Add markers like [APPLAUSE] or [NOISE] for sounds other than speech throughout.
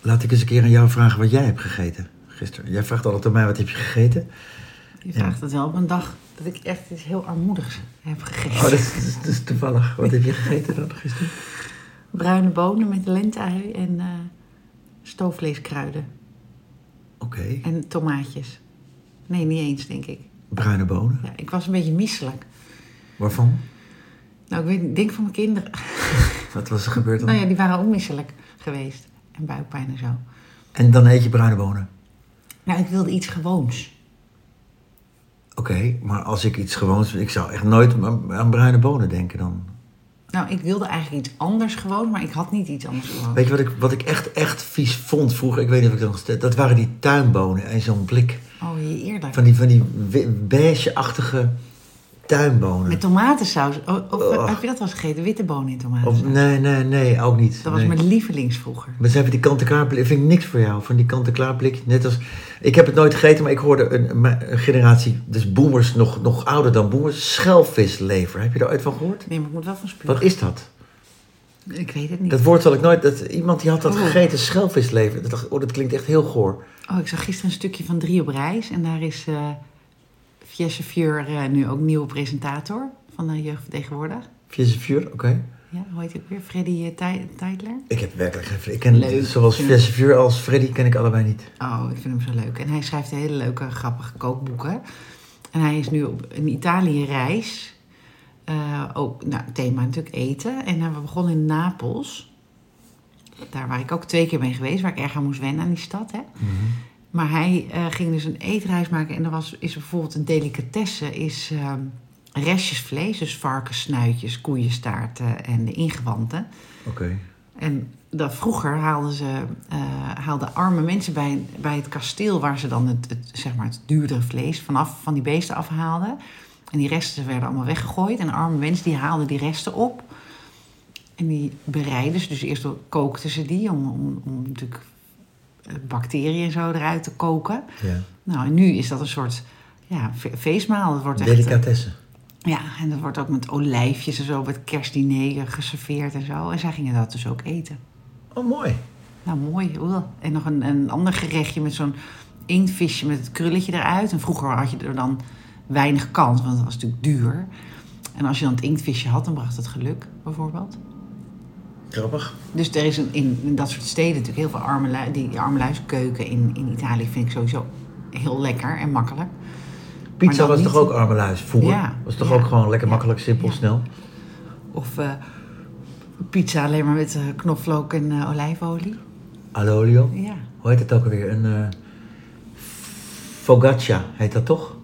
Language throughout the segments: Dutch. Laat ik eens een keer aan jou vragen wat jij hebt gegeten gisteren. Jij vraagt altijd aan mij wat heb je [LAUGHS] gegeten. Je vraagt het wel op een dag dat ik echt iets heel armoedigs heb gegeten. Oh, dat is, dat is- [LAUGHS] dat is toevallig. Wat heb je gegeten dan gisteren? Bruine bonen met lentehei en eh, stoofvleeskruiden. Oké, En tomaatjes. Nee, niet eens, denk ik. bruine bonen. Ja, ik was een beetje misselijk. Waarvan? Nou, ik weet, niet, ik denk van mijn kinderen. [LAUGHS] Wat was er gebeurd dan? nou ja, die waren ook misselijk geweest. En buikpijn en zo. En dan eet je bruine bonen. Nou, ik wilde iets gewoons. Oké, maar als ik iets gewoons... Ik zou echt nooit aan, aan bruine bonen denken dan. Nou, ik wilde eigenlijk iets anders gewoon, maar ik had niet iets anders gewoon. Weet je wat ik, wat ik echt, echt vies vond vroeger? Ik weet niet of ik dat nog steeds... Dat waren die tuinbonen en zo'n blik. Oh, je eerder. Van die, van die we- beige-achtige tuinbonen. Met tomatensaus. Oh, of, Oh. Heb je dat wel eens gegeten? Witte bonen in tomatensaus. Of, nee, nee, nee, ook niet. dat was nee. mijn lievelings vroeger. Maar zijn van die kant-en-klaar blik- vind ik niks voor jou. Van die kant-en-klaar blik. Net als, ik heb het nooit gegeten, maar ik hoorde een, een- mijn- een generatie, dus boomers, nog, nog ouder dan boomers, schelvislever. Heb je daar ooit van gehoord? Nee, maar ik moet wel van spugen. Wat is dat? Ik weet het niet. Dat woord zal ik nooit, dat, iemand die had dat Oh. gegeten, schelvislever. Dat dacht ik, oh, dat klinkt echt heel goor. Oh, ik zag gisteren een stukje van Drie op Reis. En daar is eh Fiesse Fieur eh, nu ook nieuwe presentator van de Jeugd van Tegenwoordig. Via zijn vuur, oké. Ja, hoe heet hij ook weer? Freddy eh, Tij- Tijdler? Ik heb werkelijk geen... fl- Ik ken Leuk. zowel Via zijn vuur als Freddy ken ik allebei niet. Oh, ik vind hem zo leuk. En hij schrijft hele leuke, grappige kookboeken. En hij is nu op een Italië-reis. Eh, ook, nou, thema natuurlijk eten. En eh, we begonnen in Napels. Daar waar ik ook twee keer ben geweest, waar ik erg aan moest wennen aan die stad. Hè? Maar hij eh, ging dus een eetreis maken. En er was, is bijvoorbeeld een delicatesse, is ehm, restjes vlees. Dus varkensnuitjes, koeienstaarten en de ingewanden. Oké. En dat vroeger haalden, ze, eh, haalden arme mensen bij, bij het kasteel waar ze dan het, het, zeg maar het duurdere vlees vanaf, van die beesten afhaalden. En die resten werden allemaal weggegooid. En arme mensen die haalden die resten op. En die bereiden ze. Dus eerst kookten ze die om, om, om natuurlijk eh, bacteriën en zo eruit te koken. Ja. Nou, en nu is dat een soort ja, fe- feestmaal. Het wordt echt, eh, Delicatessen. ja, en dat wordt ook met olijfjes en zo, met kerstdiner geserveerd en zo. En zij gingen dat dus ook eten. Oh, mooi. Nou, mooi. oeh. En nog een, een ander gerechtje met zo'n inktvisje met het krulletje eruit. En vroeger had je er dan weinig kans, want dat was natuurlijk duur. En als je dan het inktvisje had, dan bracht het geluk, bijvoorbeeld. Grappig. Dus er is een, in, in dat soort steden natuurlijk heel veel arme lui, die armeluiskeuken in, in Italië vind ik sowieso heel lekker en makkelijk. Pizza dan was niet- toch ook armeluis vroeger? Ja. Was toch Ja. ook gewoon lekker Ja. makkelijk, simpel, Ja. snel? Of eh, pizza alleen maar met eh, knoflook en eh, olijfolie. Alolio. Ja. Hoe heet het ook alweer? Een eh, fogaccia heet dat toch?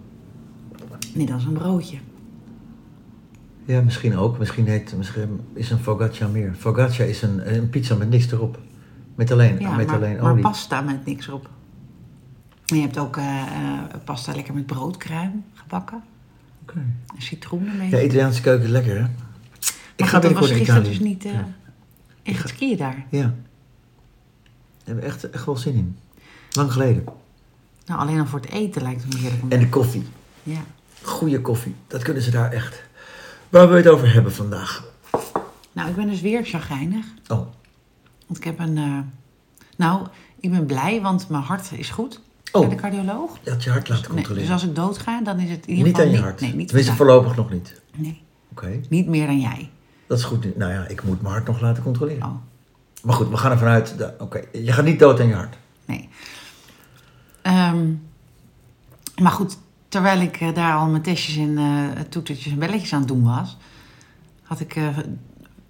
Nee, dat is een broodje. Ja, misschien ook. Misschien, heet, misschien is een fogaccia meer. Fogaccia is een, een pizza met niks erop. Met alleen, Ja, met maar, alleen maar olie. pasta met niks erop. En je hebt ook eh, eh, pasta lekker met broodkruim gebakken. Oké. En citroen ermee. Ja, Italiaanse keuken is lekker, hè? Ik ga dat was binnenkort naar gisteren Italië. dus niet... eh Ja. Echt skiën daar. Ja. Daar hebben we echt, echt wel zin in. Lang geleden. Nou, alleen al voor het eten lijkt het me heerlijk. om- En de koffie. Ja. Goeie koffie. Dat kunnen ze daar echt. Waar we het over hebben vandaag. Nou, ik ben dus weer chagrijnig. Oh, Want ik heb een... eh, Nou, ik ben blij, want mijn hart is goed. Oh. Bij de cardioloog. je had je hart laten Nee, controleren. dus als ik doodga, dan is het in ieder Niet geval aan je hart. Nee, niet Tenminste, vandaag. voorlopig nog niet. Nee, Oké, niet meer dan jij. dat is goed. nu- Nou ja, ik moet mijn hart nog laten controleren. Oh. Maar goed, we gaan ervan uit. dat- Oké, je gaat niet dood aan je hart. Nee. Ehm, maar goed, terwijl ik eh, daar al mijn testjes en eh, toetertjes en belletjes aan het doen was, had ik eh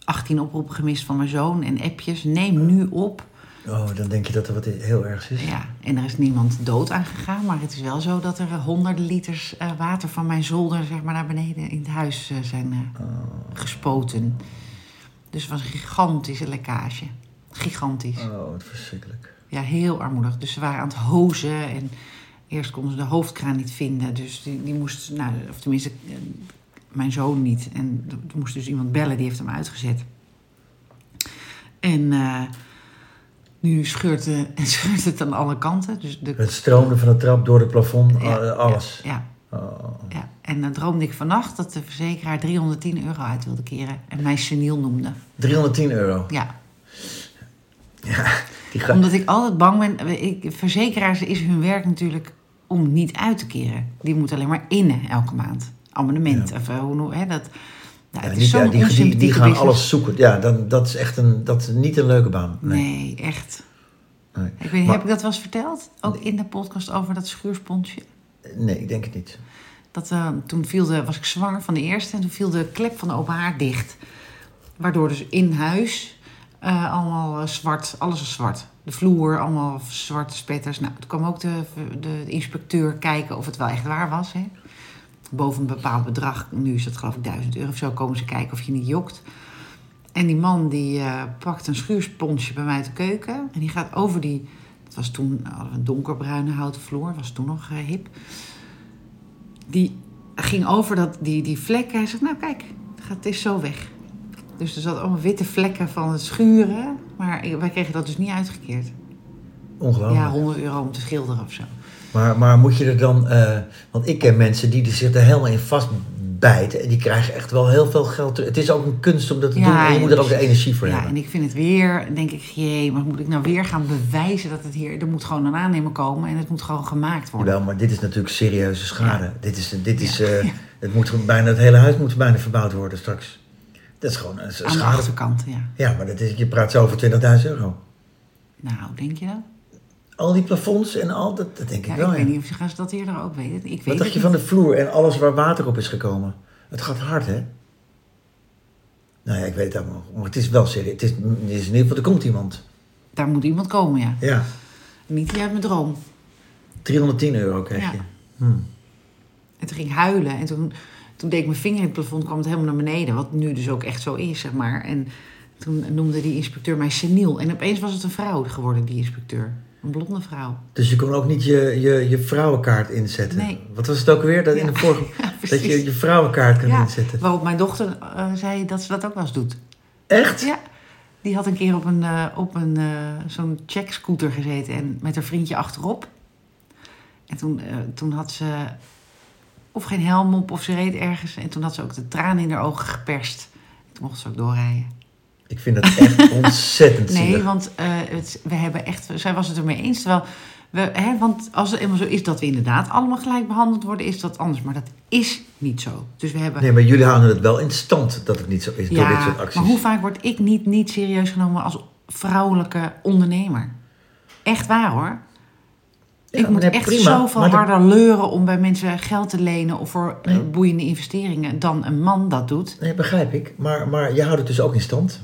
18 oproepen gemist van mijn zoon en appjes. Neem nu op. Oh, dan denk je dat er wat heel ergs is. Ja, en er is niemand dood aan gegaan, maar het is wel zo dat er eh, honderden liters eh, water van mijn zolder zeg maar, naar beneden in het huis eh, zijn eh, gespoten. Dus het was een gigantische lekkage. Gigantisch. Oh, wat verschrikkelijk. Ja, heel armoedig. Dus ze waren aan het hozen en eerst konden ze de hoofdkraan niet vinden. Dus die, die moest, nou, of tenminste, eh, mijn zoon niet. En er er moest dus iemand bellen, die heeft hem uitgezet. En eh, nu scheurt, de, scheurt [LAUGHS] het aan alle kanten. Dus de, Het stroomde van de trap door het plafond, Ja, a- alles. ja, Oh, ja. En dan droomde ik vannacht dat de verzekeraar 310 euro uit wilde keren. En mij seniel noemde. 310 euro. Ja. [LAUGHS] Die gaat- Omdat ik altijd bang ben. Ik, verzekeraars is hun werk natuurlijk om niet uit te keren. Die moeten alleen maar innen elke maand. Abonnement. Of eh, hoe noem hè, dat. Nou, Ja, het die- is zo'n ja, die, die, die, onsympathieke gaan business. alles zoeken. Ja, dan, dat is echt een, dat is niet een leuke baan. Nee. Nee, echt. Nee. Ik weet, niet, Maar- heb ik dat wel eens verteld? Ook in de podcast over dat schuursponsje. Nee, ik denk het niet. Dat, eh, toen viel de, was ik zwanger van de eerste en toen viel de klep van de open haard dicht. Waardoor dus in huis eh, allemaal eh, zwart, alles was zwart. De vloer, allemaal zwarte spetters. Nou, toen kwam ook de, de inspecteur kijken of het wel echt waar was. Hè? Boven een bepaald bedrag, nu is dat geloof ik 1000 euro of zo, komen ze kijken of je niet jokt. En die man die eh, pakt een schuursponsje bij mij uit de keuken. En die gaat over die, het was toen eh, hadden we een donkerbruine houten vloer, was toen nog eh, hip die ging over dat, die, die vlekken. Hij zegt, nou kijk, het gaat- het is zo weg. Dus er zat allemaal witte vlekken van het schuren. Maar wij kregen dat dus niet Oh, uitgekeerd. Ongelooflijk. Ja, 100 euro om te schilderen of zo. Oh, Maar, maar moet je er dan... eh, want ik ken mensen die er zich er helemaal in vastbijten. En die krijgen echt wel heel veel geld. terug. Het is ook een kunst om dat te doen. En je moet er ook de precies. energie voor ja, hebben. en ik vind het weer, denk ik, jee, maar moet ik nou weer gaan bewijzen dat het hier... Er moet gewoon een aannemer komen en het moet gewoon gemaakt worden. Jawel, maar dit is natuurlijk serieuze schade. Dit is, dit is, eh, het, moet bijna, het hele huis moet bijna verbouwd worden straks. Dat is gewoon een s- Aan de schade. achterkant, ja. Ja, maar dat is, je praat zo over 20.000 euro. Nou, denk je dat? Al die plafonds en al dat, dat denk ik Ja, wel. ik ja. weet niet of ze gaan ze dat eerder ook weten. Ik weet Wat het dacht je niet. van de vloer en alles waar water op is gekomen? Het gaat hard, hè? Nou ja, ik weet het allemaal. nog. Maar het is wel serieus. Het is, het is in ieder geval, er komt iemand. Daar moet iemand komen, ja. Ja, Niet die uit mijn droom. 310 euro krijg je. Ja. En toen ging ik huilen. En toen, toen deed ik mijn vinger in het plafond, kwam het helemaal naar beneden. Wat nu dus ook echt zo is, zeg maar. En toen noemde die inspecteur mij seniel. En opeens was het een vrouw geworden, die inspecteur. Een blonde vrouw. Dus je kon ook niet je, je, je vrouwenkaart inzetten. Nee. Wat was het ook weer? Dat, in de [LAUGHS] vorige, dat je precies. je vrouwenkaart kan inzetten. waarop mijn dochter eh, zei dat ze dat ook wel eens doet. Echt? Ja, die had een keer op, een, eh, op een, eh, zo'n checkscooter gezeten en met haar vriendje achterop. En toen, eh, toen had ze of geen helm op of ze reed ergens. En toen had ze ook de tranen in haar ogen geperst. Toen mocht ze ook doorrijden. Ik vind dat [LAUGHS] echt ontzettend Nee, zielig. want eh, het, we hebben echt, zij was het ermee eens. Terwijl we, hè, want als het eenmaal zo is dat we inderdaad allemaal gelijk behandeld worden, is dat anders. Maar dat is niet zo. Dus we hebben. Nee, maar jullie houden het wel in stand dat het niet zo is door dit soort acties. maar hoe vaak word ik niet, niet serieus genomen als vrouwelijke ondernemer? Echt waar hoor. Ja, ik moet nee, echt prima, zoveel maar dat- harder leuren om bij mensen geld te lenen of voor eh, boeiende investeringen dan een man dat doet. Nee, begrijp ik. Maar, maar je houdt het dus ook in stand.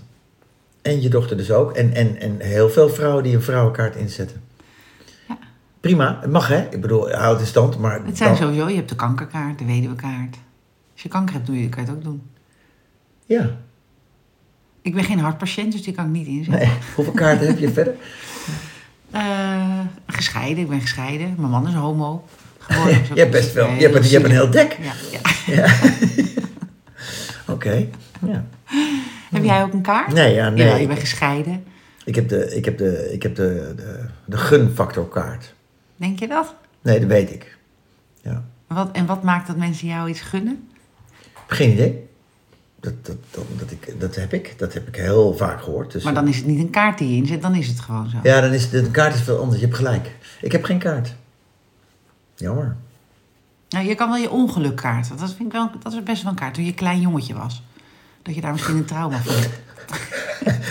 En je dochter dus ook. En, en, en heel veel vrouwen die een vrouwenkaart inzetten. Ja. Prima, het mag hè. Ik bedoel, houd het in stand. Maar Het zijn dan- sowieso, je hebt de kankerkaart, de weduwekaart. Als je kanker hebt, doe je, kan je het ook doen. Ja. Ik ben geen hartpatiënt, dus die kan ik niet inzetten. Nee. [LAUGHS] Hoeveel kaarten heb je [LAUGHS] verder? Eh, gescheiden, ik ben gescheiden. Mijn man is [LAUGHS] homo. Geworden, dus Je hebt best wel- je hebt een- je hebt een heel dek. Ja, ja. Oké. Ja. Heb jij ook een kaart? Nee, ja, nee. Jawel, je bent gescheiden. Ik heb de, ik heb de, ik heb de, de, de gunfactorkaart. Denk je dat? Nee, dat weet ik. Ja. Wat, en wat maakt dat mensen jou iets gunnen? Geen idee. Dat, dat, dat, dat, ik, dat heb ik. Dat heb ik heel vaak gehoord. Dus, Maar dan is het niet een kaart die je inzet, dan is het gewoon zo. Ja, dan is de kaart is wel anders. Je hebt gelijk. Ik heb geen kaart. Jammer. [LAUGHS] Nou, je kan wel je ongeluk kaarten. Dat, vind ik wel, dat is best wel een kaart. Toen je een klein jongetje was. Dat je daar misschien een trauma van hebt.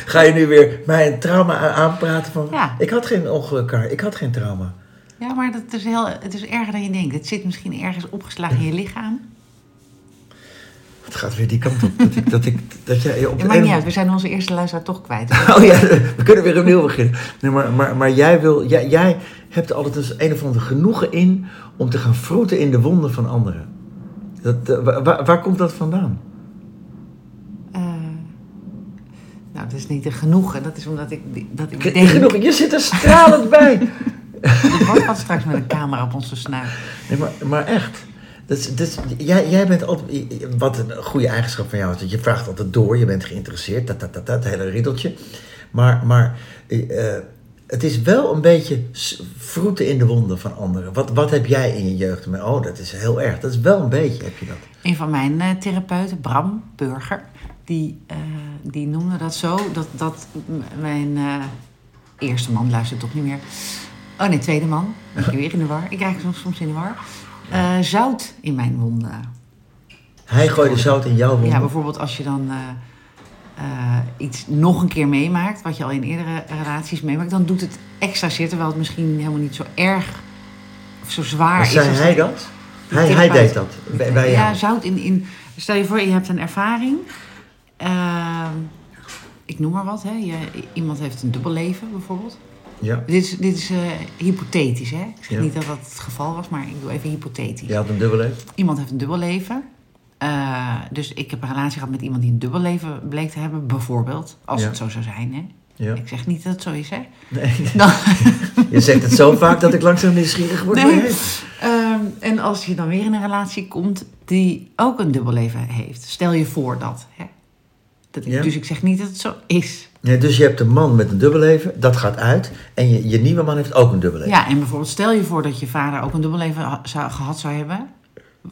Ga je nu weer mij een trauma a- aanpraten van... Ja. Ik had geen ongelukkaart. Ik had geen trauma. Ja, maar dat is heel, het is erger dan je denkt. Het zit misschien ergens opgeslagen in je lichaam. Het gaat weer die kant op. Dat, ik, dat, ik, dat jij op Het de maakt een niet of- uit, we zijn onze eerste luisteraar toch kwijt. [LAUGHS] Oh ja, we kunnen weer opnieuw beginnen. Nee, maar, maar, maar jij, wil, jij, jij hebt er altijd een, een of ander genoegen in... om te gaan vroeten in de wonden van anderen. Dat, eh, wa- waar, waar komt dat vandaan? Eh, Nou, dat is niet een genoegen. Dat is omdat ik, dat ik denk... Genoeg, je zit er stralend bij. Er wordt wat straks met een camera op onze snuit. Nee, maar, maar echt. Dus, dus, jij, jij bent altijd, wat een goede eigenschap van jou is. dat Je vraagt altijd door, je bent geïnteresseerd, dat, dat, dat, dat hele riddeltje. Maar, maar eh, eh, het is wel een beetje s- vroeten in de wonden van anderen. Wat, wat heb jij in je jeugd? Maar, Oh, dat is heel erg. Dat is wel een beetje, heb je dat. Een van mijn eh, therapeuten, Bram Burger, die, eh, die noemde dat zo. Dat, dat m- mijn eh, eerste man luistert toch niet meer. Oh nee, tweede man. Ik ben weer in de war. Ik krijg soms, soms in de war. Eh, zout in mijn wonden. Hij gooide zout in jouw Ja, wonden. bijvoorbeeld als je dan eh, eh, iets nog een keer meemaakt, wat je al in eerdere relaties meemaakt, dan doet het extra zitten, terwijl het misschien helemaal niet zo erg of zo zwaar Maar is. zei als hij het- dat? Die Hij, hij therapeut. deed dat bij, bij ja, jou. zout in, in. Stel je voor, je hebt een ervaring. Ehm, ik noem maar wat, hè. Je, iemand heeft een dubbel leven bijvoorbeeld. Ja. Dit is, dit is eh, hypothetisch, hè? Ik zeg Ja. niet dat dat het geval was, maar ik doe even hypothetisch Je had een dubbele. iemand heeft een dubbelleven. Eh, dus ik heb een relatie gehad met iemand die een dubbelleven bleek te hebben, bijvoorbeeld. Als Ja. het zo zou zijn, hè. Ja. Ik zeg niet dat het zo is, hè. Nee. [LAUGHS] [LAUGHS] Dan, Je zegt het zo vaak dat ik langzaam nieuwsgierig word. Nee. maar hey. Ehm, en als je dan weer in een relatie komt die ook een dubbelleven heeft. Stel je voor dat, hè. Dat ik- Ja. Dus ik zeg niet dat het zo is. Nee, dus je hebt een man met een dubbeleven, dat gaat uit. En je, je nieuwe man heeft ook een dubbeleven. Ja, en bijvoorbeeld stel je voor dat je vader ook een dubbelleven ha- zou, gehad zou hebben.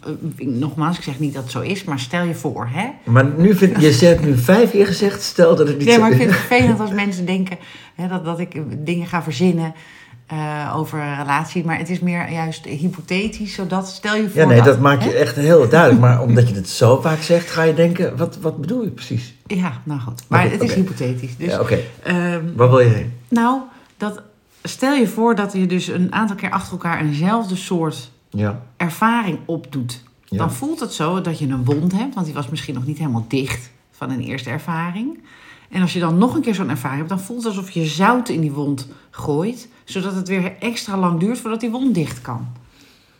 Eh, ik- nogmaals, ik zeg niet dat het zo is, maar stel je voor, hè. Maar nu vind, je hebt nu vijf keer gezegd, stel dat het niet Nee, zo maar ik vind is. [LAUGHS] het vervelend als mensen denken hè, dat, dat ik eh, dingen ga verzinnen eh, over een relatie. Maar het is meer juist hypothetisch, zodat stel je voor. Ja, nee, dat hè? maak je echt heel duidelijk. Maar omdat je het zo vaak zegt, ga je denken, wat, wat bedoel je precies? Ja, nou goed. Maar Maar goed, het is oké. hypothetisch. Dus, Ja, oké. ehm, Waar wil je heen? nou, dat, stel je voor dat je dus een aantal keer achter elkaar eenzelfde soort Ja. ervaring opdoet. Ja. Dan voelt het zo dat je een wond hebt, want die was misschien nog niet helemaal dicht van een eerste ervaring. En als je dan nog een keer zo'n ervaring hebt, dan voelt het alsof je zout in die wond gooit, zodat het weer extra lang duurt voordat die wond dicht kan.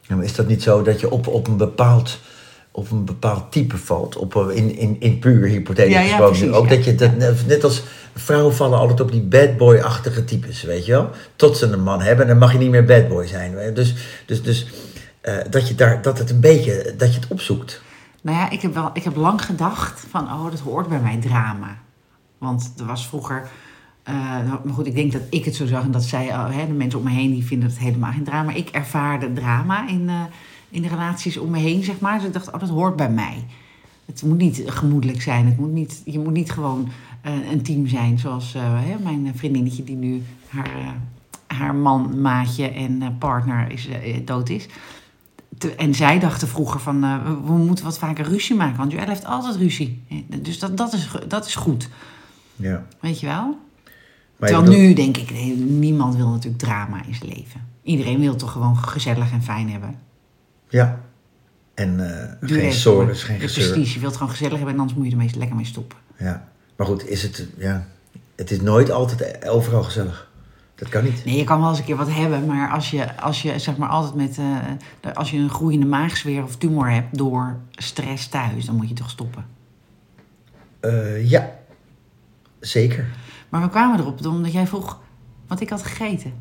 Ja, maar is dat niet zo dat je op, op, een, bepaald, op een bepaald type valt? Op, een- in, in, in puur hypothetisch Ja, ja, gesproken. precies, ook ja. dat je dat, net- net als vrouwen vallen altijd op die bad boy-achtige types, weet je wel? Tot ze een man hebben en dan mag je niet meer bad boy zijn. Dus, dus, dus eh, dat, je daar, dat het een beetje, dat je het opzoekt. Nou ja, ik heb, wel, ik heb lang gedacht van, oh, dat hoort bij mijn drama. Want er was vroeger... eh, nou, maar goed, ik denk dat ik het zo zag en dat zij, oh, hè, de mensen om me heen, die vinden het helemaal geen drama. Ik ervaarde drama in, eh, in de relaties om me heen, zeg maar. Dus ik dacht, oh, dat hoort bij mij. Het moet niet gemoedelijk zijn. Het moet niet, je moet niet gewoon eh, een team zijn, zoals eh, hè, mijn vriendinnetje die nu haar, eh, haar man, maatje en eh, partner is, eh, dood is. Te- en zij dachten vroeger van, eh, we- we moeten wat vaker ruzie maken, want Joël heeft altijd ruzie. Eh, Dus dat, dat, is, ge- dat is goed, Ja. weet je wel? Maar je Terwijl bedoelt- nu denk ik, nee, niemand wil natuurlijk drama in zijn leven. Iedereen wil toch gewoon gezellig en fijn hebben. Ja. En eh geen Duurzaam. sores, geen Ja, gezeur. Precies, je wilt het gewoon gezellig hebben en anders moet je er meest- lekker mee stoppen. Ja. Maar goed, is het, ja, het is nooit altijd overal gezellig. Dat kan niet. Nee, je kan wel eens een keer wat hebben, maar als je, als je zeg maar altijd met, eh, de- als je een groeiende maagsfeer of tumor hebt door stress thuis, dan moet je toch stoppen. Eh, ja, zeker. Maar we kwamen erop omdat jij vroeg wat ik had gegeten.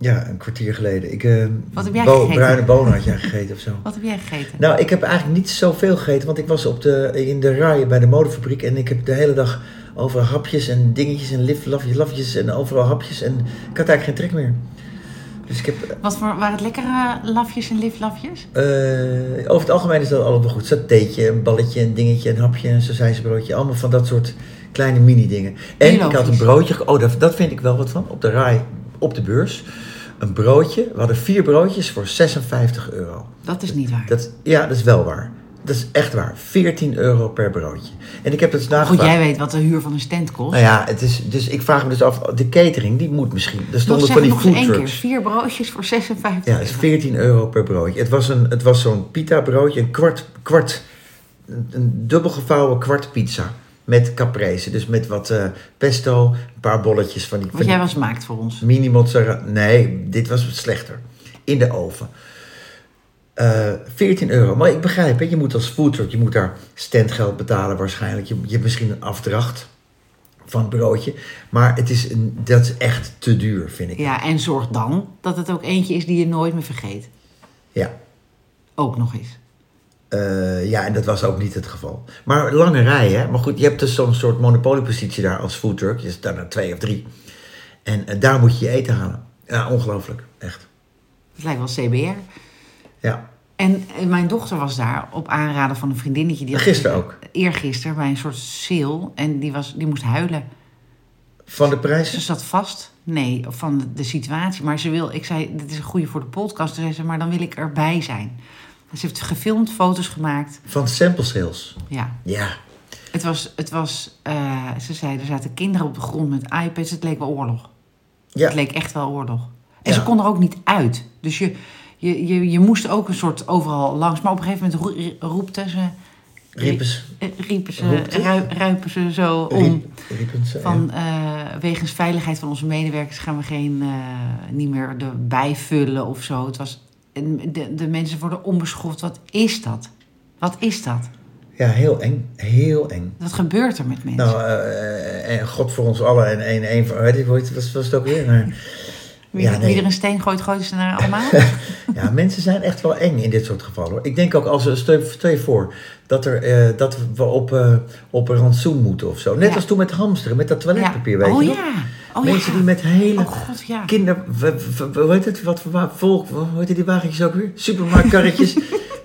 Ja, een kwartier geleden. Ik, eh, Wat heb jij bo- gegeten? Bruine bonen had jij gegeten of zo. Wat heb jij gegeten? Nou, ik heb eigenlijk niet zoveel gegeten, want ik was op de, in de rij bij de modefabriek en ik heb de hele dag overal hapjes en dingetjes en lif, lafjes, lafjes en overal hapjes en ik had eigenlijk geen trek meer. Dus ik heb, Wat voor, waren het lekkere lafjes en liflafjes? eh, over het algemeen is dat allemaal goed. Satéetje, een balletje, een dingetje, een hapje, een sausijzenbroodje, allemaal van dat soort kleine mini-dingen. En Heel ik had een logisch. broodje, ge- oh, dat, dat vind ik wel wat van, op de rij, op de beurs. Een broodje, we hadden vier broodjes voor 56 euro. Dat is niet waar. Dat, ja, dat is wel waar. Dat is echt waar. 14 euro per broodje. En ik heb het dus Goed, nagevraagd. jij weet wat de huur van een stand kost. Nou ja, het is, dus ik vraag me dus af, de catering, die moet misschien. Er nog stonden van zeg die nog eens één keer. foodtrucks. Vier broodjes voor 56 Ja, het is 14 euro per broodje. Het was, een, het was zo'n pita broodje, een kwart, kwart, een, een dubbelgevouwen kwart pizza. Met caprese, dus met wat eh, pesto, een paar bolletjes van die, van Wat die jij was maakt voor ons. Mini mozzarella. Nee, dit was wat slechter. In de oven. Eh 14 euro. Maar ik begrijp, hè, je moet als foodtruck, je moet daar standgeld betalen waarschijnlijk. Je, je hebt misschien een afdracht van het broodje. Maar het is een, dat is echt te duur, vind ik. Ja. Ja, en zorg dan dat het ook eentje is die je nooit meer vergeet. Ja. Ook nog eens. Eh, ja, en dat was ook niet het geval. Maar lange rij, hè? Maar goed, je hebt dus zo'n soort monopoliepositie daar als foodtruck. Je zit daar naar twee of drie. En eh, daar moet je je eten halen. Ja, ongelooflijk. Echt. Het lijkt wel CBR. Ja. En eh, mijn dochter was daar op aanraden van een vriendinnetje. Die had- Gisteren ook. Eergisteren bij een soort sale. En die, was, die moest huilen. Van de Ze prijzen? zat vast. Nee, van de, de situatie. Maar ze wil, ik zei, dit is een goede voor de podcast. Toen zei ze, maar dan wil ik erbij zijn. Ze heeft gefilmd, foto's gemaakt. Van sample sales. Ja, Ja. het was, het was eh, ze zei, er zaten kinderen op de grond met iPads. Het leek wel oorlog. Ja. Het leek echt wel oorlog. Ja. En ze kon er ook niet uit. Dus je, je, je, je moest ook een soort overal langs. Maar op een gegeven moment roe- roepte ze... Riepen ze. eh, Riepen ze, Roepte? ru- ruipen ze zo om. Riep- riepen ze, Van eh, wegens veiligheid van onze medewerkers gaan we geen, eh, niet meer erbij vullen of zo. Het was, en de, de mensen worden onbeschoft. Wat is dat? Wat is dat? ja. ja, heel eng. Heel eng. Wat gebeurt er met mensen? Nou, eh, eh, en God voor ons allen en één één van, weet ik wat was, was het ook weer? Maar, wie, ja, nee. wie er een steen gooit, gooit ze naar allemaal. [LAUGHS] ja, mensen zijn echt wel eng in dit soort gevallen. hoor. Ik denk ook als er, stel stel je voor, dat, er, eh, dat we op, eh, op een rantsoen moeten of zo. Net Ja. als toen met hamsteren, met dat toiletpapier, weet oh, je nog? ja. Oh Mensen ja. die met hele Oh god, ja. Kinder, w- w- w- hoe heet het? Wat voor wa- volk? Hoe heet die wagentjes ook weer? [LAUGHS] Supermarktkarretjes.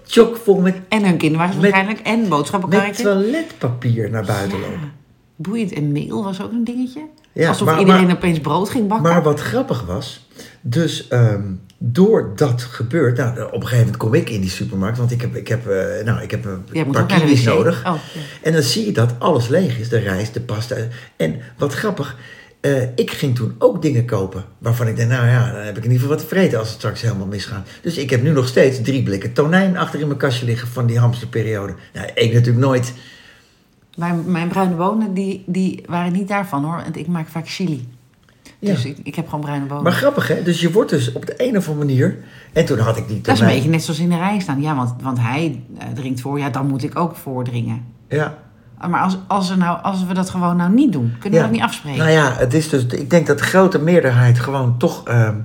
chockvol met, En hun kinderwagens Met- waarschijnlijk. En met boodschappenkarretje. toiletpapier naar buiten lopen. Boeiend. En meel was ook een dingetje. Ja, Alsof maar- iedereen maar- opeens brood ging bakken. Maar wat grappig was, dus ehm, door dat gebeurt, nou, op een gegeven moment kom ik in die supermarkt, want ik heb, ik heb, eh, nou, ik heb een Jij moet paar ook naar de kiwis wc. nodig. Oh, ja. En dan zie je dat alles leeg is, de rijst, de pasta. En wat grappig, eh, ik ging toen ook dingen kopen waarvan ik dacht, nou ja, dan heb ik in ieder geval wat te vreten als het straks helemaal misgaat. Dus ik heb nu nog steeds drie blikken tonijn achter in mijn kastje liggen van die hamsterperiode. Nou, ik natuurlijk nooit. Mijn, mijn bruine bonen die, die waren niet daarvan hoor. Want ik maak vaak chili. Ja. Dus ik, ik heb gewoon bruine bonen. Maar grappig hè, dus je wordt dus op de een of andere manier, en toen had ik die dat tonijn. is een beetje net zoals in de rij staan. Ja, want, want hij eh, drinkt voor. Ja, dan moet ik ook voordringen. Ah, Ja. Maar als, als, er nou, als we dat gewoon nou niet doen, kunnen we dat niet afspreken. Nou ja, het is dus, ik denk dat de grote meerderheid gewoon toch. ehm,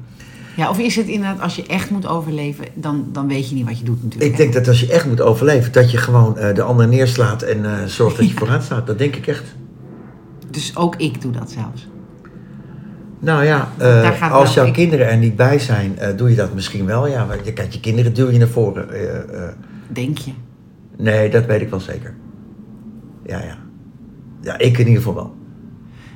Ja, of is het inderdaad, als je echt moet overleven, dan, dan weet je niet wat je doet natuurlijk. ik denk dat als je echt moet overleven, dat je gewoon eh, de ander neerslaat en eh, zorgt [LAUGHS] dat je vooruit staat. Dat denk ik echt. Dus ook ik doe dat zelfs. Nou ja, eh, Daar gaat als wel- jouw ik- kinderen er niet bij zijn, eh, doe je dat misschien wel. Ja, want je kijkt je kinderen duw je naar voren. eh, eh. Denk je. nee, dat weet ik wel zeker. Ja, ja. Ja, ik in ieder geval wel.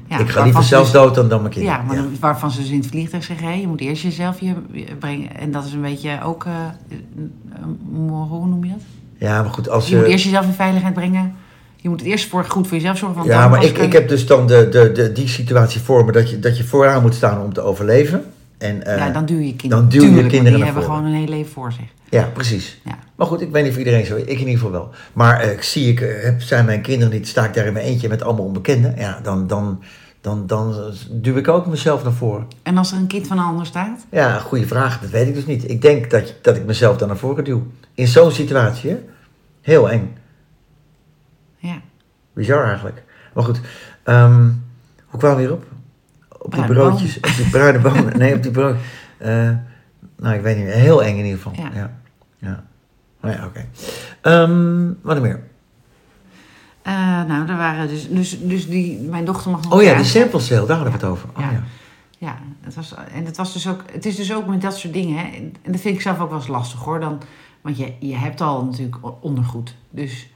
Ja, ik ga waarvan liever ze zelf dus- dood dan, dan mijn kinderen. Ja, maar dan- waarvan ze dus in het vliegtuig zeggen, hé, je moet eerst jezelf hier eh, brengen. En dat is een beetje ook, eh, eh, hoe noem je dat? Ja, maar goed, als Je moet je. eerst jezelf in veiligheid brengen. Je moet het eerst voor, goed voor jezelf zorgen. Want Ja, dan maar pas ik, kun ik je- heb dus dan de, de, de, die situatie voor me dat je, dat je vooraan moet staan om te overleven. En, eh, ja, dan duw je kinderen. dan duw je Tuurlijk, want kinderen Die naar hebben voren. gewoon een heel leven voor zich. Ja, precies. Ja. Maar goed, ik weet niet of iedereen zo is. Ik in ieder geval wel. Maar eh, ik zie ik, eh, heb, zijn mijn kinderen niet, sta ik daar in mijn eentje met allemaal onbekenden. Ja, dan, dan, dan, dan duw ik ook mezelf naar voren. En als er een kind van een ander staat? Ja, goede vraag. Dat weet ik dus niet. Ik denk dat, dat ik mezelf dan naar voren duw. In zo'n situatie, hè? Heel eng. Ja. Bizar eigenlijk. Maar goed, ehm, hoe kwam we hierop? Op die Bruine broodjes, op die bruine [LAUGHS] bonen. Nee, op die brood. eh, nou, ik weet niet meer. Heel eng in ieder geval. Ja. Ja. ja. Nou ja, oké. Ehm, wat er meer? Eh, nou, er waren dus, dus, dus die, mijn dochter mag nog Oh ja, een die keer sample sale, daar hadden we het over. Oh, ja. Ja. Ja, het was, en het, was dus ook, het is dus ook met dat soort dingen. Hè, en dat vind ik zelf ook wel eens lastig hoor. Dan, want je, je hebt al natuurlijk ondergoed. Dus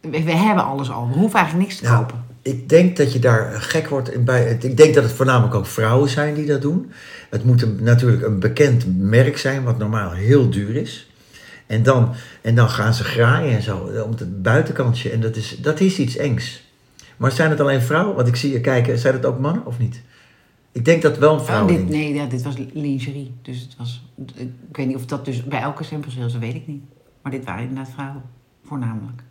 we, we hebben alles al. We hoeven eigenlijk niks te Ja, kopen. ik denk dat je daar eh, gek wordt in bij. het- Ik denk dat het voornamelijk ook vrouwen zijn die dat doen. Het moet een, natuurlijk een bekend merk zijn, wat normaal heel duur is. En dan, en dan gaan ze graaien en zo eh, om het buitenkantje. En dat is, dat is iets engs. Maar zijn het alleen vrouwen? Want ik zie je kijken, zijn het ook mannen of niet? Ik denk dat wel een Oh, vrouwen. dit, nee, ja, dit was lingerie. Dus het was. Ik weet niet of dat dus bij elke sample sale is, dat weet ik niet. Maar dit waren inderdaad vrouwen, voornamelijk.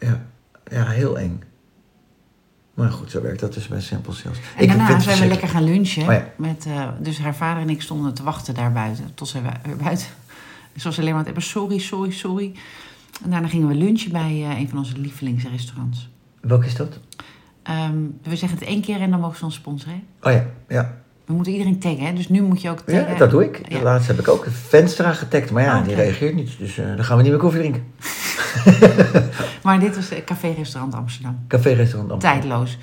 Ja, ja, heel eng. Maar goed, zo werkt dat dus bij sample sales. En daarna zijn we lekker gaan lunchen. Oh ja. met, eh, dus haar vader en ik stonden te wachten daar buiten. Tot zij wa- er buiten. [LAUGHS] Zoals alleen maar het hebben: sorry, sorry, sorry. En daarna gingen we lunchen bij eh, een van onze lievelingsrestaurants. Welk is dat? Ehm, we zeggen het één keer en dan mogen ze ons sponsoren. hè? Oh ja, ja. We moeten iedereen taggen, hè? dus nu moet je ook taggen. Ja, dat doe ik. Ja. Laatst heb ik ook Venstra getagd, maar ja, Oh, die oké. reageert niet. Dus eh, dan gaan we niet meer koffie drinken. Maar dit was eh, café-restaurant Amsterdam. Café-restaurant Amsterdam. tijdloos.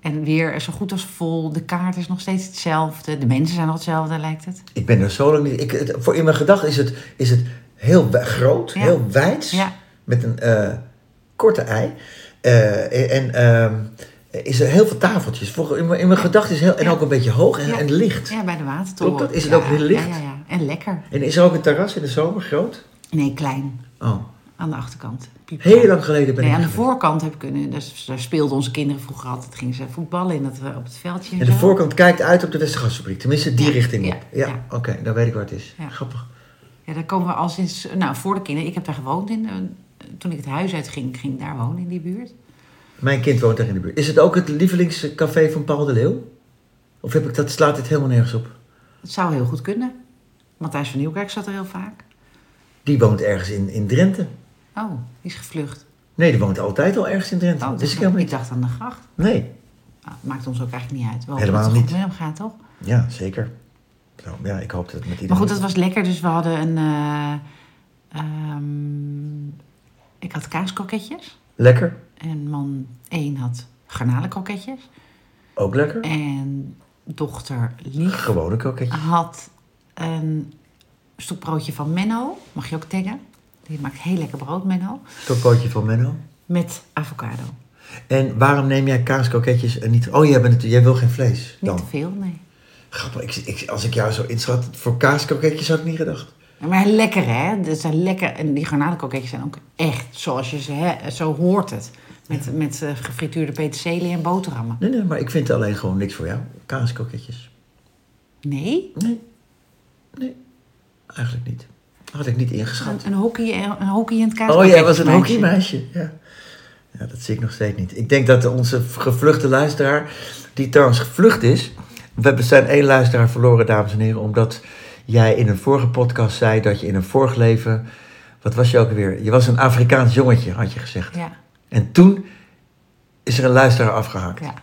En weer zo goed als vol. De kaart is nog steeds hetzelfde. De mensen zijn nog hetzelfde, lijkt het. Ik ben er zo lang niet... Ik, het- voor in mijn gedachten is het, is het heel wi- groot, Ja. heel wijds, Ja. met een eh, korte ei. Eh, en ehm, is er heel veel tafeltjes. Voor, in, mijn- in mijn gedachten is heel, en Ja. ook een beetje hoog en, Ja. en licht. Ja, bij de watertoren. Klopt dat? Is het Ja, ook heel licht? Ja, ja, ja. En lekker. En is er ook een terras in de zomer groot? Nee, klein. Oh, Aan de achterkant. Piepklein. heel lang geleden ben Nee, ik aan de geweest. voorkant heb ik kunnen. Daar, daar speelden onze kinderen vroeger altijd. Gingen ze voetballen in het, eh, op het veldje. En de zo. voorkant kijkt uit op de Westergasfabriek. Tenminste, die Ja, richting ja, op. Ja, ja. oké, dan weet ik waar het is. Ja. Grappig. Ja, daar komen we al sinds. Nou, voor de kinderen. Ik heb daar gewoond in. eh, toen ik het huis uit ging, ging ik daar wonen in die buurt. Mijn kind woont daar in de buurt. Is het ook het lievelingscafé van Paul de Leeuw? Of heb ik dat, slaat dit helemaal nergens op? Het zou heel goed kunnen. Matthijs van Nieuwkerk zat er heel vaak. Die woont ergens in, in Drenthe. Oh, die is gevlucht. Nee, die woont altijd al ergens in Drenthe. Oh, dat dus is ik ik, helemaal niet. dacht aan de gracht. Nee. Nou, het maakt ons ook eigenlijk niet uit. Wel, Helemaal dat het goed niet. met hem gaat, toch? Ja, zeker. Zo, ja, ik hoop dat het met iedereen... Maar goed, dat was lekker. Dus we hadden een... eh, ehm, ik had kaaskoketjes. Lekker. En man 1 had garnalenkoketjes. Ook lekker. En dochter Lief Gewone kroketje. had een stokbroodje van Menno. Mag je ook taggen? Die maakt heel lekker brood, Menno. Stokpootje van Menno. Met avocado. En waarom neem jij kaaskoketjes en niet... Oh, jij, bent natuurlijk, jij wil geen vlees Niet dan. te veel, nee. Grappig, ik, ik- als ik jou zo inschat, voor kaaskoketjes had ik niet gedacht. Ja, Maar lekker, hè? Dat zijn lekker. En die garnalenkoketjes zijn ook echt zoals je ze... Hè, zo hoort het. Met, met eh, gefrituurde peterselie en boterhammen. Nee, nee, maar ik vind alleen gewoon niks voor jou. Kaaskoketjes. Nee? Nee. Nee, eigenlijk niet. Had ik niet ingeschat. Een, een hockey, eh, een hockey in het kaas. Oh, jij was een hockeymeisje. Ja. ja, dat zie ik nog steeds niet. Ik denk dat onze gevluchte luisteraar, die trouwens gevlucht is. We hebben- zijn één luisteraar verloren, dames en heren, omdat jij in een vorige podcast zei dat je in een vorig leven. Wat was je ook alweer? Je was een Afrikaans jongetje, had je gezegd. Ja, En toen is er een luisteraar afgehaakt. ja.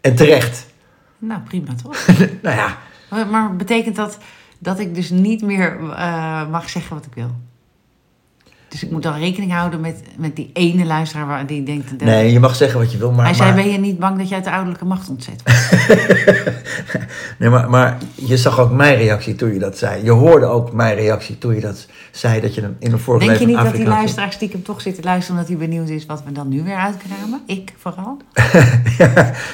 En terecht. [LAUGHS] Nou, prima toch? [LAUGHS] nou ja, maar, maar betekent dat dat ik dus niet meer eh, mag zeggen wat ik wil? Dus ik moet dan rekening houden met, met die ene luisteraar waar, die denkt... dat- nee, je mag zeggen wat je wil, maar. Hij zei, maar- ben je niet bang dat je uit de ouderlijke macht ontzet wordt? Nee, maar, maar je zag ook mijn reactie toen je dat zei. Je hoorde ook mijn reactie toen je dat zei dat je een- in een vorige Denk je leven niet dat die Afrikaans was. luisteraar stiekem toch zit te luisteren... omdat hij benieuwd is wat we dan nu weer uitkramen? Ik vooral?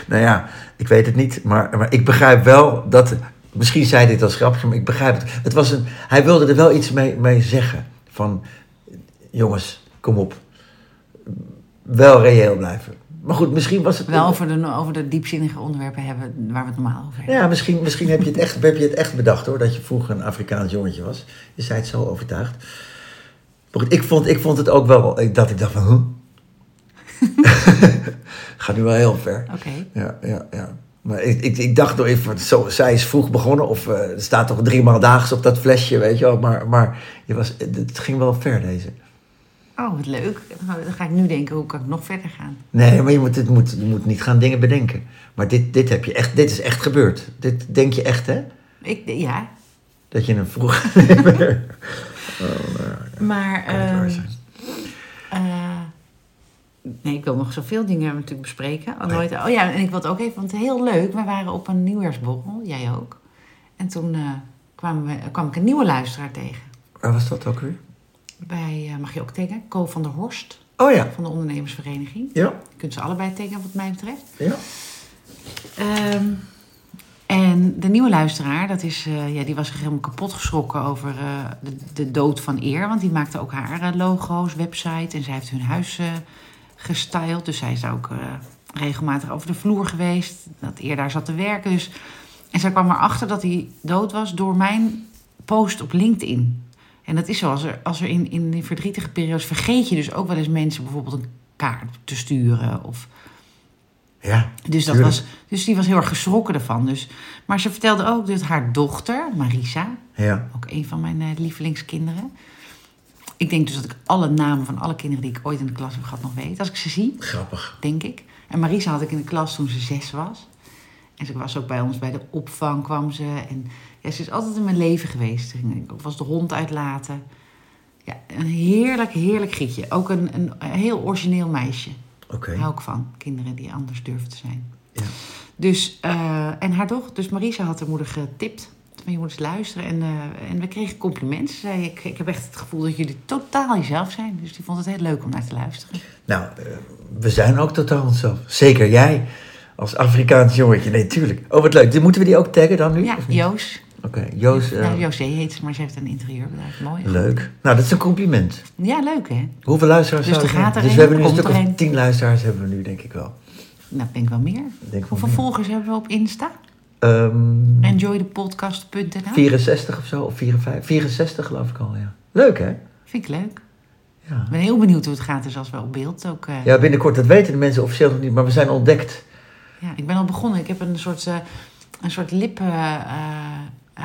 nou [LAUGHS] ja, ik weet het niet, maar, maar ik begrijp wel dat. Misschien zei hij dit als grapje, maar ik begrijp het. het was een, hij wilde er wel iets mee, mee zeggen. Van jongens, kom op. Wel reëel blijven. Maar goed, misschien was het. Wel over de, over de diepzinnige onderwerpen hebben waar we het normaal over hebben. Ja, misschien, misschien heb, je het echt, heb je het echt bedacht hoor, dat je vroeger een Afrikaans jongetje was. Je zei het zo overtuigd. Maar goed, ik vond, ik vond het ook wel, ik- dat ik dacht van, huh? [LAUGHS] Gaat nu wel heel ver. Oké. Ja, ja, ja. Maar ik, ik, ik dacht nog even, van, zo, zij is vroeg begonnen of eh, er staat toch drie maal daags op dat flesje, weet je wel. Maar, maar je was, eh, het ging wel ver deze. Oh, wat leuk. Dan ga ik nu denken, hoe kan ik nog verder gaan? Nee, maar je moet, dit moet, je moet niet gaan dingen bedenken. Maar dit, dit, heb je echt, dit is echt gebeurd. Dit denk je echt, hè? Ik, ja, Dat je een vroeg... [LAUGHS] Maar. Kan het waar ehm, zijn. eh, nee, ik wil nog zoveel dingen natuurlijk bespreken. Al nooit- Oh ja, en ik wil het ook even, want heel leuk. We waren op een nieuwjaarsborrel, jij ook. En toen eh, kwamen we, kwam ik een nieuwe luisteraar tegen. Waar was dat ook weer? Bij, eh, mag je ook taggen, Co van der Horst Oh ja. van de ondernemersvereniging. Ja, Je kunt ze allebei taggen wat mij betreft. ja. Ehm, en de nieuwe luisteraar, dat is, eh, ja, die was zich helemaal kapot geschrokken over eh, de, de dood van Eer. Want die maakte ook haar eh, logo's, website en zij heeft hun huis eh, gestyled. Dus zij is daar ook eh, regelmatig over de vloer geweest. Dat Eer daar zat te werken. Dus... En zij kwam erachter dat hij dood was door mijn post op LinkedIn. En dat is zo, als er, als er in, in die verdrietige periodes vergeet je dus ook wel eens mensen bijvoorbeeld een kaart te sturen of... Ja. Dus, dat tuurlijk. was, dus die was heel erg geschrokken ervan. Dus. Maar ze vertelde ook dat haar dochter, Marisa, Ja. ook een van mijn eh, lievelingskinderen. Ik denk dus dat ik alle namen van alle kinderen die ik ooit in de klas heb gehad nog weet. Als ik ze zie, Grappig. denk ik. En Marisa had ik in de klas toen ze zes was. En ze was ook bij ons bij de opvang, kwam ze. En ja, ze is altijd in mijn leven geweest. Ik was de hond uitlaten. Ja, een heerlijk, heerlijk gietje. Ook een, een heel origineel meisje. Oké. Hou ik van, kinderen die anders durven te zijn. Ja. Dus, eh, en haar dochter, dus Marisa had haar moeder getipt. van jongens luisteren. En, eh, en we kregen complimenten. Ze zei, ik, ik heb echt het gevoel dat jullie totaal jezelf zijn. Dus die vond het heel leuk om naar te luisteren. Nou, eh, we zijn ook totaal onszelf. Zeker jij, als Afrikaans jongetje. Nee, tuurlijk. Oh, wat leuk. Die- Moeten we die ook taggen dan nu? [LAUGHS] Ja, of niet? Joos. Oké, Joost. eh, Nou, José heet ze, maar ze heeft een interieurbedrijf. Mooi. leuk. Nou, dat is een compliment. Ja, leuk hè? Hoeveel luisteraars Dus er zouden we gaat hebben? er Dus een, we hebben er nu een komt stuk of er een. tien luisteraars hebben we nu, denk ik wel. Nou, ik denk wel meer. denk wel Hoeveel meer. volgers hebben we op Insta? Ehm, Enjoythepodcast.nl. 64 of zo, of 54, 64 geloof ik al, ja. Leuk, hè? Vind ik leuk. Ja. Ik ben heel benieuwd hoe het gaat, dus als we op beeld ook... eh, Ja, binnenkort, dat weten de mensen officieel nog niet, maar we zijn ontdekt. Ja, ik ben al begonnen. Ik heb een soort, eh, een soort lippen eh, eh,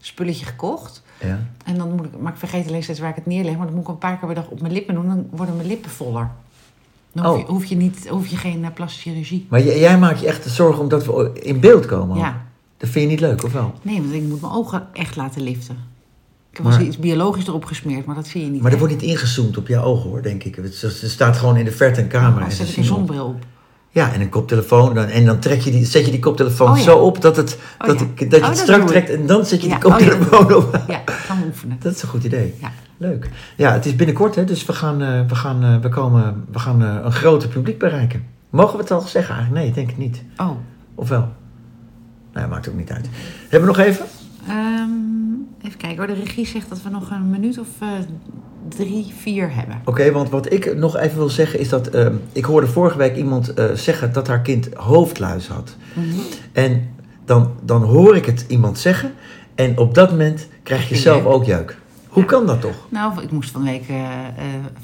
spulletje gekocht. Ja. En dan moet ik, maar ik vergeet alleen steeds waar ik het neerleg. Maar dan moet ik een paar keer per dag op mijn lippen doen. Dan worden mijn lippen voller. Dan hoef, Oh. je, hoef, je, niet, hoef je geen eh, plastische chirurgie. Maar j- jij maakt je echt zorgen omdat we o- in beeld komen. ook. Ja. Dat vind je niet leuk, of wel? Nee, want ik moet mijn ogen echt laten liften. Ik heb Maar- wel iets biologisch erop gesmeerd, maar dat zie je niet. Maar er echt. wordt niet ingezoomd op jouw ogen, hoor, denk ik. Het is- Er staat gewoon in de verte een camera. Dan en zet ze ik een zien ons. zonbril op. Ja, en een koptelefoon. Dan, en dan trek je die, zet je die koptelefoon Oh, ja. zo op dat, het, Oh, dat, ja. ik- dat je Oh, het dat strak doe ik. trekt. En dan zet je Ja, die oh, ja, dat koptelefoon op. [LAUGHS] Ja, gaan oefenen. Dat is een goed idee. Ja. Leuk. Ja, het is binnenkort, hè, dus we gaan, eh, we gaan, eh, we komen, we gaan eh, een groter publiek bereiken. Mogen we het al zeggen eigenlijk? Nee, ik denk het niet. Oh, Of wel? Nou, maakt ook niet uit. Hebben we nog even? ehm, even kijken hoor. De regie zegt dat we nog een minuut of eh, drie, vier hebben. Oké, want wat ik nog even wil zeggen is dat... ehm, ik hoorde vorige week iemand eh, zeggen dat haar kind hoofdluis had. Mhm. En dan, dan hoor ik het iemand zeggen. En op dat moment krijg je Jeuk. zelf ook jeuk. Hoe kan dat toch? Nou, ik moest van de week eh, eh,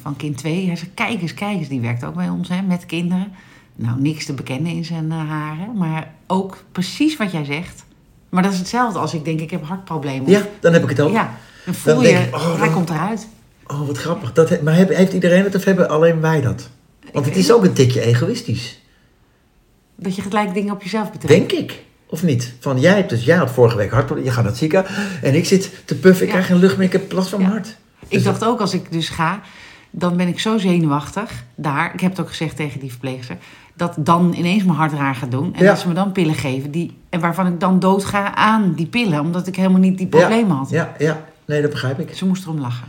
van kind 2. Hij zei, kijk eens, kijk eens. Die werkt ook bij ons, hè, met kinderen. Nou, niks te bekennen in zijn eh, haren. Maar ook precies wat jij zegt. Maar dat is hetzelfde als ik denk, ik heb hartproblemen. Ja, dan heb ik het ook. Ja, dan voel Dan je, denk ik, oh, hij dan- komt eruit. Oh, wat grappig. Dat he- maar heb- heeft iedereen het of hebben alleen wij dat? Want het is ook een tikje egoïstisch. Dat je gelijk dingen op jezelf betrekt. Denk ik. Of niet? Van jij hebt dus, jij had vorige week hartproblemen, je gaat naar het ziekenhuis en ik zit te puffen, ik Ja. krijg geen lucht meer, ik heb last van mijn Ja. hart. Ik dacht ook, als ik dus ga, dan ben ik zo zenuwachtig daar. Ik heb het ook gezegd tegen die verpleegster. Dat dan ineens mijn hart raar gaat doen. En Ja. dat ze me dan pillen geven. Die, en waarvan ik dan dood ga aan die pillen. Omdat ik helemaal niet die problemen had. Ja, ja, nee, dat begrijp ik. Ze moest erom lachen.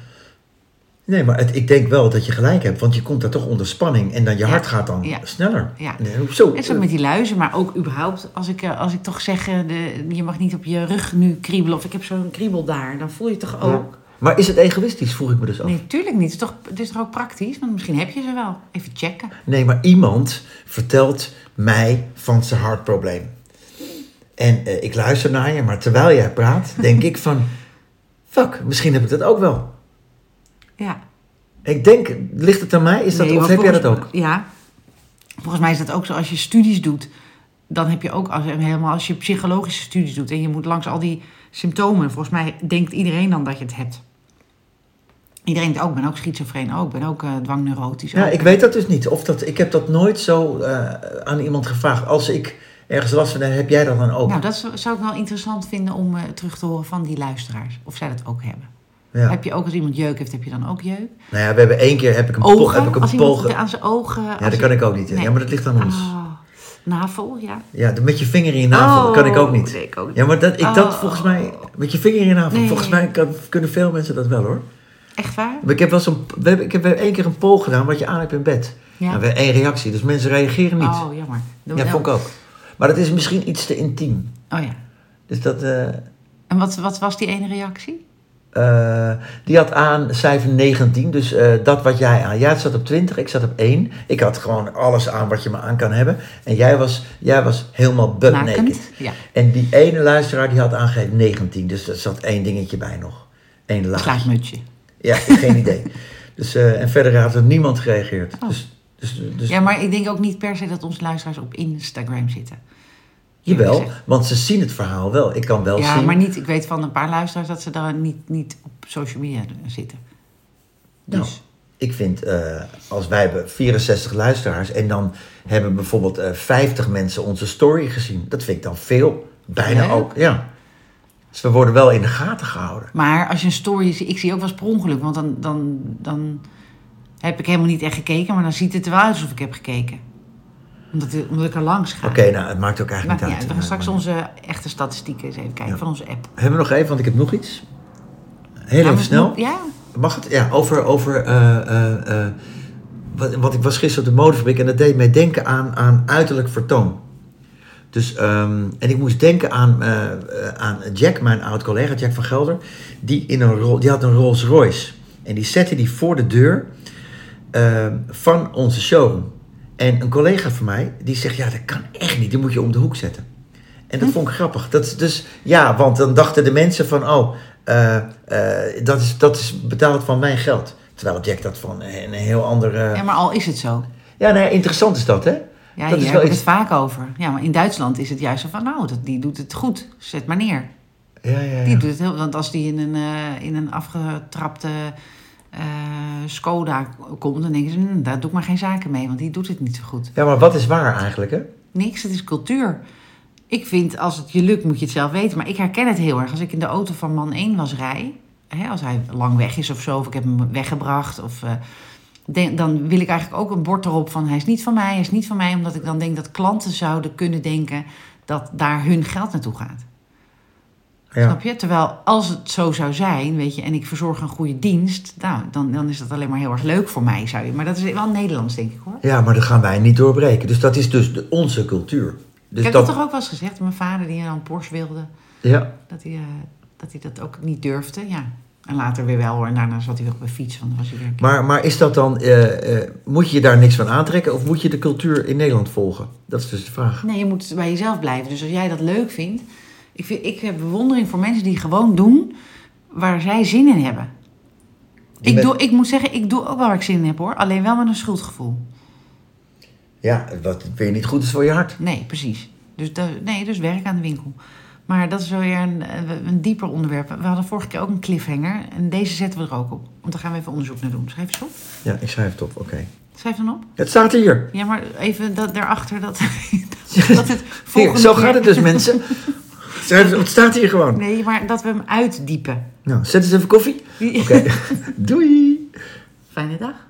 Nee, maar het, ik denk wel dat je gelijk hebt, want je komt daar toch onder spanning en dan je hart gaat dan Ja. sneller. Ja. Nee, zo. En zo met die luizen, maar ook überhaupt. Als ik, eh, als ik toch zeg, eh, de, je mag niet op je rug nu kriebelen. Of ik heb zo'n kriebel daar. Dan voel je toch Ja. ook... Maar is het egoïstisch, vroeg ik me dus af. Nee, tuurlijk niet. Het is, toch, het is toch ook praktisch? Want misschien heb je ze wel. Even checken. Nee, maar iemand vertelt mij van zijn hartprobleem. En eh, ik luister naar je, maar terwijl jij [LAUGHS] praat, denk ik van... Fuck, misschien heb ik dat ook wel. Ja. Ik denk, ligt het aan mij? Is dat, Nee, of want heb jij dat volgens- ook? Ja. Volgens mij is dat ook zo. Als je studies doet, dan heb je ook als, helemaal... Als je psychologische studies doet en je moet langs al die symptomen... Volgens mij denkt iedereen dan dat je het hebt. Iedereen denkt ook, ik ben ook schizofreen ook. Ik ben ook eh, dwangneurotisch Ja, ook. ik weet dat dus niet. Of dat, ik heb dat nooit zo eh, aan iemand gevraagd. Als ik ergens last van heb, heb jij dat dan ook? Nou, dat zou zou ik wel interessant vinden om eh, terug te horen van die luisteraars. Of zij dat ook hebben. ja. Heb je ook als iemand jeuk heeft, heb je dan ook jeuk? Nou ja, we hebben één keer heb ik een pol- Ogen, heb ik als een iemand pol ge- aan zijn ogen... Ja, dat kan ik ook niet. Ja, maar dat ligt aan ons. Ah, navel, ja. Ja, de- met je vinger in je navel, dat kan ik ook niet. Oh, Nee, ik ook niet. Ja, maar dat, ik, dat Oh. volgens mij, met je vinger in je navel, Nee. volgens mij kan- kunnen veel mensen dat wel hoor. Echt waar? Maar ik heb wel zo'n, we hebben, ik heb wel één keer een poll gedaan wat je aan hebt in bed. Ja. Nou, weer één reactie, dus mensen reageren niet. Oh, jammer. Doe ja, wel. vond ik ook. Maar dat is misschien iets te intiem. Oh ja. Dus dat, eh, En wat, wat was die ene reactie? eh, die had aan cijfer 19, dus eh, dat wat jij aan. Jij zat op 20, ik zat op 1. Ik had gewoon alles aan wat je me aan kan hebben. En jij was, jij was helemaal butt naked. Ja. En die ene luisteraar die had aangegeven 19. Dus er zat één dingetje bij nog. Eén laag. Slaapmutsje. Ja, geen [LAUGHS] idee. Dus, eh, en verder had er niemand gereageerd. Oh. Dus, dus, dus Ja, maar ik denk ook niet per se dat onze luisteraars op Instagram zitten. jawel, gezegd. want ze zien het verhaal wel. Ik kan wel Ja, zien. maar niet, ik weet van een paar luisteraars dat ze daar niet, niet op social media zitten. Nou, Dus. ik vind, eh, als wij hebben 64 luisteraars en dan hebben bijvoorbeeld eh 50 mensen onze story gezien. Dat vind ik dan veel. Bijna Leuk. ook, ja. Dus we worden wel in de gaten gehouden. Maar als je een story ziet, ik zie ook wel eens per ongeluk, want dan, dan, dan heb ik helemaal niet echt gekeken, maar dan ziet het er wel uit alsof ik heb gekeken. Omdat, omdat ik er langs ga. Oké, nou, het maakt ook eigenlijk Maakt niet niet uit. uit. We gaan straks Maar- onze echte statistieken eens even kijken Ja. van onze app. Hebben we nog even, want ik heb nog iets. Heel Ja, even snel. Nou, Ja, Mag het? Ja, over, over eh, eh, eh, wat, want ik was gisteren op de modefabriek en dat deed mij denken aan, aan uiterlijk vertoon. Dus, ehm, en ik moest denken aan, eh, eh, aan Jack, mijn oud collega, Jack van Gelder. Die, in een rol, die had een Rolls Royce. En die zette die voor de deur ehm, van onze showroom. En een collega van mij, die zegt, ja, dat kan echt niet. Die moet je om de hoek zetten. En dat vond ik grappig. Dat, is dus ja, want dan dachten de mensen van, oh, eh, eh, dat, is, dat is betaald van mijn geld. Terwijl Jack dat van een heel ander... eh, Ja, maar al is het zo. Ja, nee, interessant is dat, hè? Ja, dat hier is hebben wel we iets... het vaak over. Ja, maar in Duitsland is het juist zo van, nou, dat, die doet het goed. Zet maar neer. Ja, ja, ja. Die doet het heel, want als die in een, eh, in een afgetrapte eh, Skoda komt, dan denken ze, "Hm, daar doe ik maar geen zaken mee, want die doet het niet zo goed. ja, maar wat is waar eigenlijk, hè? Niks, het is cultuur. Ik vind, als het je lukt, moet je het zelf weten. Maar ik herken het heel erg. Als ik in de auto van man 1 was rij, hè, als hij lang weg is of zo, of ik heb hem weggebracht, of, eh, denk- dan wil ik eigenlijk ook een bord erop van hij is niet van mij, hij is niet van mij, omdat ik dan denk dat klanten zouden kunnen denken dat daar hun geld naartoe gaat. Ja. Snap je? Terwijl als het zo zou zijn, weet je, en ik verzorg een goede dienst, nou, dan, dan is dat alleen maar heel erg leuk voor mij, zou je. Maar dat is wel Nederlands, denk ik hoor. ja, maar dat gaan wij niet doorbreken. Dus dat is dus de, onze cultuur. Dus ik heb dat, dat... toch ook wel eens gezegd, mijn vader die dan Porsche wilde, Ja, dat hij, eh, dat hij dat ook niet durfde, ja. En later weer wel hoor, en daarna zat hij weer op een fiets, want dan was hij weer... maar, maar is dat dan... eh, eh, moet je daar niks van aantrekken of moet je de cultuur in Nederland volgen? Dat is dus de vraag. Nee, je moet bij jezelf blijven. Dus als jij dat leuk vindt, ik, vind, ik heb bewondering voor mensen die gewoon doen waar zij zin in hebben. Die Ik, met- doe, ik moet zeggen, ik doe ook wel waar ik zin in heb hoor, alleen wel met een schuldgevoel. Ja, wat weer niet goed is voor je hart. Nee, precies. Dus, da- nee, dus werk aan de winkel. Maar dat is wel weer een, eh, een dieper onderwerp. We hadden vorige keer ook een cliffhanger. En deze zetten we er ook op. Want daar gaan we even onderzoek naar doen. Schrijf eens op. Ja, ik schrijf het op, oké. Schrijf dan op. Het staat hier. Ja, maar even dat, daarachter [LAUGHS] dat, dat het Hier, volgende zo keer- gaat het dus, [LAUGHS] mensen. Schrijf het, het staat hier gewoon. Nee, maar dat we hem uitdiepen. [LAUGHS] Nou, zet eens even koffie. Oké, doei. Fijne dag.